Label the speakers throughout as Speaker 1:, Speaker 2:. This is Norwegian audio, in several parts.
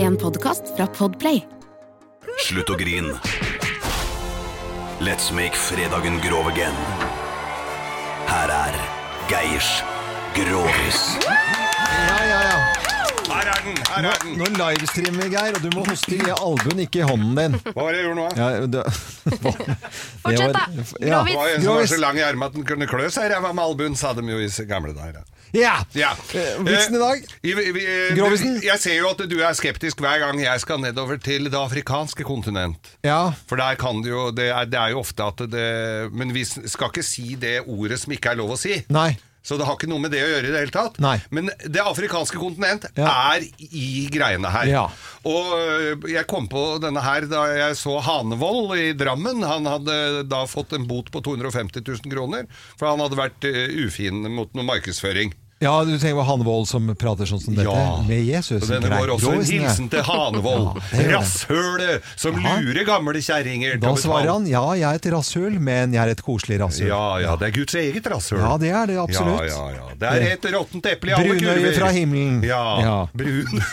Speaker 1: En podkast fra Podplay.
Speaker 2: Slutt å grin. Let's make fredagen grov again. Her er Geirs Grovis.
Speaker 3: Ja, ja, ja.
Speaker 4: Her er den! her er den
Speaker 3: Nå livestreamer vi, Geir, og du må hoste i albuen, ikke i hånden din.
Speaker 4: Hva var det jeg gjorde nå?
Speaker 3: Ja, det,
Speaker 5: Fortsett, da.
Speaker 4: Det
Speaker 5: Grovis.
Speaker 4: var en som var
Speaker 3: Grovis.
Speaker 4: så lang i armen at den kunne klø seg i ræva med albuen, sa de jo i s- gamle dager. ja.
Speaker 3: Ja.
Speaker 4: Ja.
Speaker 3: Eh, Vitsen i dag?
Speaker 4: Eh, i- i- eh,
Speaker 3: Grovisen?
Speaker 4: Jeg ser jo at du er skeptisk hver gang jeg skal nedover til det afrikanske kontinent.
Speaker 3: Ja.
Speaker 4: For der kan det jo Det er, det er jo ofte at det Men vi s- skal ikke si det ordet som ikke er lov å si.
Speaker 3: Nei.
Speaker 4: Så det har ikke noe med det å gjøre i det hele tatt.
Speaker 3: Nei.
Speaker 4: Men det afrikanske kontinent
Speaker 3: Ja.
Speaker 4: er i greiene her.
Speaker 3: Ja.
Speaker 4: Og øh, jeg kom på denne her da jeg så Hanevold i Drammen. Han hadde da fått en bot på 250 000 kroner, for han hadde vært øh, ufin mot noe markedsføring.
Speaker 3: Ja, du tenker på Hanvold som prater sånn som dette? Med Jesus.
Speaker 4: Og denne
Speaker 3: Grei.
Speaker 4: går også en
Speaker 3: Grovisen, ja.
Speaker 4: hilsen til Hanevold.
Speaker 3: Ja, det gjør den.
Speaker 4: Rasshølet som
Speaker 3: Ja.
Speaker 4: lurer gamle kjerringer. til
Speaker 3: Da
Speaker 4: å betale.
Speaker 3: svarer han ja, jeg er et rasshøl, men jeg er et koselig rasshøl.
Speaker 4: Ja, ja, det er Guds eget rasshøl.
Speaker 3: Ja, det er det, absolutt.
Speaker 4: Ja, ja, ja. Det er et råttent eple i alle kurver.
Speaker 3: Brunøye fra himmelen.
Speaker 4: Ja,
Speaker 3: Ja.
Speaker 4: brun.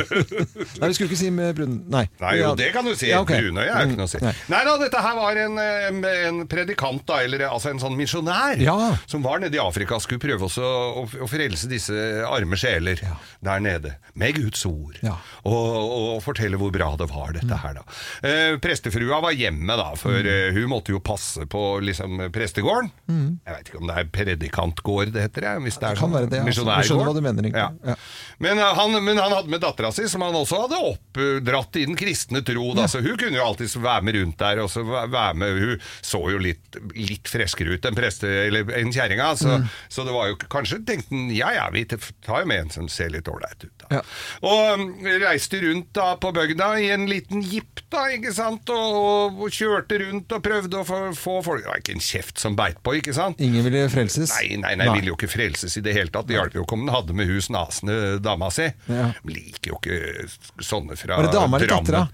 Speaker 3: Nei, vi skulle ikke si med brun... Nei.
Speaker 4: Nei, jo, det kan du si.
Speaker 3: Ja, ok. Mm.
Speaker 4: Brunøye er jo ikke noe å si.
Speaker 3: Nei.
Speaker 4: Nei da, dette her var en, eh, en predikant, da, eller altså en sånn misjonær,
Speaker 3: Ja.
Speaker 4: som var nede i Afrika, skulle prøve også å, å frelse disse arme sjeler der nede. Med Guds ord.
Speaker 3: Ja. Mm.
Speaker 4: Og, og fortelle hvor bra det var, dette her, da. Eh, prestefrua var hjemme, da, for eh, hun måtte jo passe på liksom, prestegården. Jeg veit ikke om det er predikantgård det heter, jeg. Hvis det, er
Speaker 3: kan
Speaker 4: sånn
Speaker 3: være Mm. det, altså. Jeg
Speaker 4: misjonærgård.
Speaker 3: skjønner hva du mener, egentlig.
Speaker 4: Ja.
Speaker 3: Ja.
Speaker 4: Men, eh, han, men han hadde med dattera si, som han også hadde oppdratt i den kristne tro. Da. Så hun kunne jo alltid være med rundt der. Og så væ- være med. Hun så jo litt, litt freskere ut enn preste, eller enn kjerringa. Så,
Speaker 3: Mm.
Speaker 4: så det var jo k- kanskje tenkte han ja ja, vi t- tar jo med en som ser litt ålreit ut. Da.
Speaker 3: Ja.
Speaker 4: Og um, reiste rundt da på bygda i en liten jeep, da, ikke sant. Og, og, og kjørte rundt og prøvde å få, få folk Det var ikke en kjeft som beit på, ikke sant.
Speaker 3: Ingen ville frelses?
Speaker 4: Nei, nei, nei, ville jo ikke frelses i det hele tatt. Det hjalp jo ikke om den hadde med hus nasende dama si.
Speaker 3: Ja.
Speaker 4: De Liker jo ikke sånne fra
Speaker 3: Var det dama eller
Speaker 4: Drammen.
Speaker 3: dattera?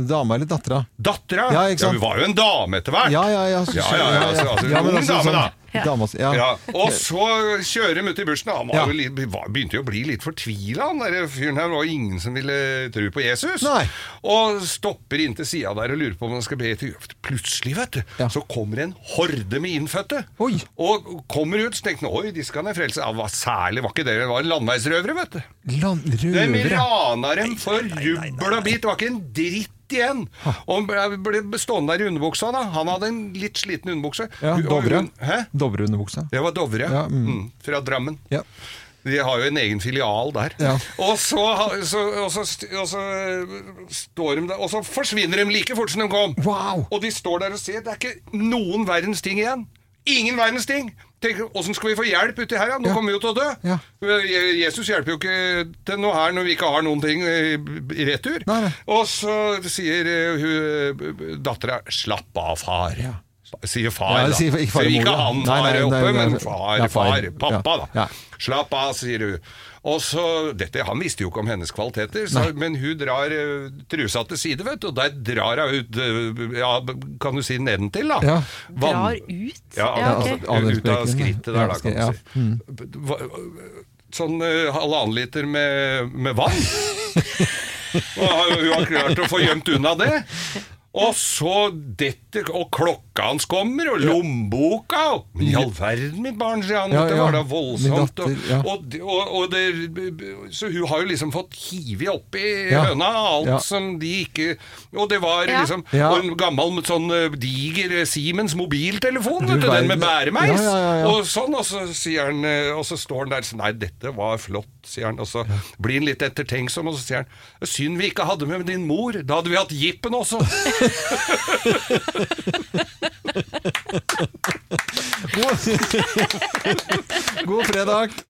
Speaker 4: Hæ?
Speaker 3: Dama eller dattera?
Speaker 4: Dattera?
Speaker 3: Ja, ikke sant?
Speaker 4: hun var jo en dame etter hvert.
Speaker 3: Ja, ja, ja. så-
Speaker 4: ja, ja, ja, altså, altså,
Speaker 3: Ja, men
Speaker 4: ung
Speaker 3: altså,
Speaker 4: dame,
Speaker 3: sånn-
Speaker 4: da.
Speaker 3: Dama, si- ja.
Speaker 4: Ja, og så kjører de ut i bursdagen. Han
Speaker 3: Ja.
Speaker 4: var jo litt, var, begynte jo å bli litt fortvila, han der fyren her. Det var jo ingen som ville tro på Jesus.
Speaker 3: Nei.
Speaker 4: Og stopper inntil sida der og lurer på om han skal be til Gud. Plutselig, vet du,
Speaker 3: Ja.
Speaker 4: så kommer en horde med innfødte.
Speaker 3: Oi.
Speaker 4: Og kommer ut, så tenker han oi, de skal han frelse. Ja, det var særlig var ikke det, det var landeveisrøvere, vet du.
Speaker 3: Land,
Speaker 4: De
Speaker 3: røvere.
Speaker 4: rana dem for rubbel og bit. Det var ikke en dritt igjen. Og han ble- ble stående der i underbuksa, da. Han hadde en litt sliten underbukse.
Speaker 3: Ja,
Speaker 4: Hun- og
Speaker 3: Dovre.
Speaker 4: hun- Hæ?
Speaker 3: Dovre under buksa.
Speaker 4: Det var Dovre, ja.
Speaker 3: Ja, mm.
Speaker 4: Mm, fra Drammen.
Speaker 3: Ja.
Speaker 4: De har jo en egen filial der.
Speaker 3: Ja.
Speaker 4: Og, så, ha- så, og, så, st- og så eh, står de der, og så forsvinner de like fort som de kom.
Speaker 3: Wow!
Speaker 4: Og de står der og ser. Det er ikke noen verdens ting igjen. Ingen verdens ting! Tenker, Åssen skal vi få hjelp uti her? Ja? Nå
Speaker 3: Ja.
Speaker 4: kommer vi jo til å dø!
Speaker 3: Ja.
Speaker 4: Eh, Jesus hjelper jo ikke til noe her når vi ikke har noen ting eh, i retur.
Speaker 3: Nei, nei.
Speaker 4: Og så sier eh, hun dattera 'slapp av, far'.
Speaker 3: Ja.
Speaker 4: Sier far,
Speaker 3: Ja,
Speaker 4: da.
Speaker 3: sier ikke far og mor,
Speaker 4: ikke
Speaker 3: ja.
Speaker 4: han
Speaker 3: Nei,
Speaker 4: far
Speaker 3: nei,
Speaker 4: er oppe,
Speaker 3: nei, nei,
Speaker 4: men
Speaker 3: nei.
Speaker 4: far,
Speaker 3: Ja, far.
Speaker 4: far, pappa,
Speaker 3: Ja,
Speaker 4: da.
Speaker 3: ja.
Speaker 4: Slapp av, sier hun. Og så, dette, Han visste jo ikke om hennes kvaliteter, så, men hun drar eh, trusa til side, vet du, og der drar hun ut eh, Ja, kan du si nedentil, da?
Speaker 3: Ja.
Speaker 4: Vann-
Speaker 5: Drar ut?
Speaker 4: Ja,
Speaker 5: Ja, ok.
Speaker 4: altså, ut av
Speaker 3: Anelsprekken, ja.
Speaker 4: skrittet der, da, kan
Speaker 3: Ja, Mm.
Speaker 4: du si. Hva- Sånn eh, halvannen liter med, med vann. Og har- hun har klart å få gjemt unna det. Og så detter Og klokka hans kommer, og lommeboka og Men I all verden, mitt barn, sier han.
Speaker 3: Ja,
Speaker 4: Dette
Speaker 3: ja.
Speaker 4: var da voldsomt.
Speaker 3: Min datter, ja.
Speaker 4: og, og, det- og, og det, så hun har jo liksom fått hivet oppi
Speaker 3: Ja.
Speaker 4: høna alt
Speaker 3: Ja.
Speaker 4: som de ikke Og det var
Speaker 5: Ja.
Speaker 4: liksom
Speaker 3: Ja.
Speaker 4: Og en gammel sånn eh, diger eh, Siemens mobiltelefon, sånn, vet du,
Speaker 3: verden.
Speaker 4: den med bæremeis.
Speaker 3: Ja, ja, ja, ja.
Speaker 4: Og sånn, og så sier han eh, Og så står han der sånn Nei, dette var flott, sier han. Og så blir han litt ettertenksom, og så sier han Synd vi ikke hadde med din mor, da hadde vi hatt jippen også.
Speaker 3: God fredag!